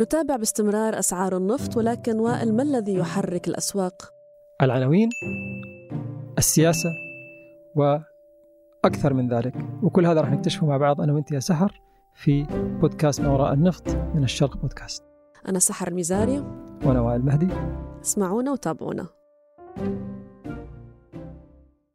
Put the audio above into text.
نتابع باستمرار أسعار النفط ولكن وائل ما الذي يحرك الأسواق؟ العناوين السياسة وأكثر من ذلك وكل هذا راح نكتشفه مع بعض أنا وأنت يا سحر في بودكاست ما وراء النفط من الشرق بودكاست أنا سحر المزاري وأنا وائل مهدي اسمعونا وتابعونا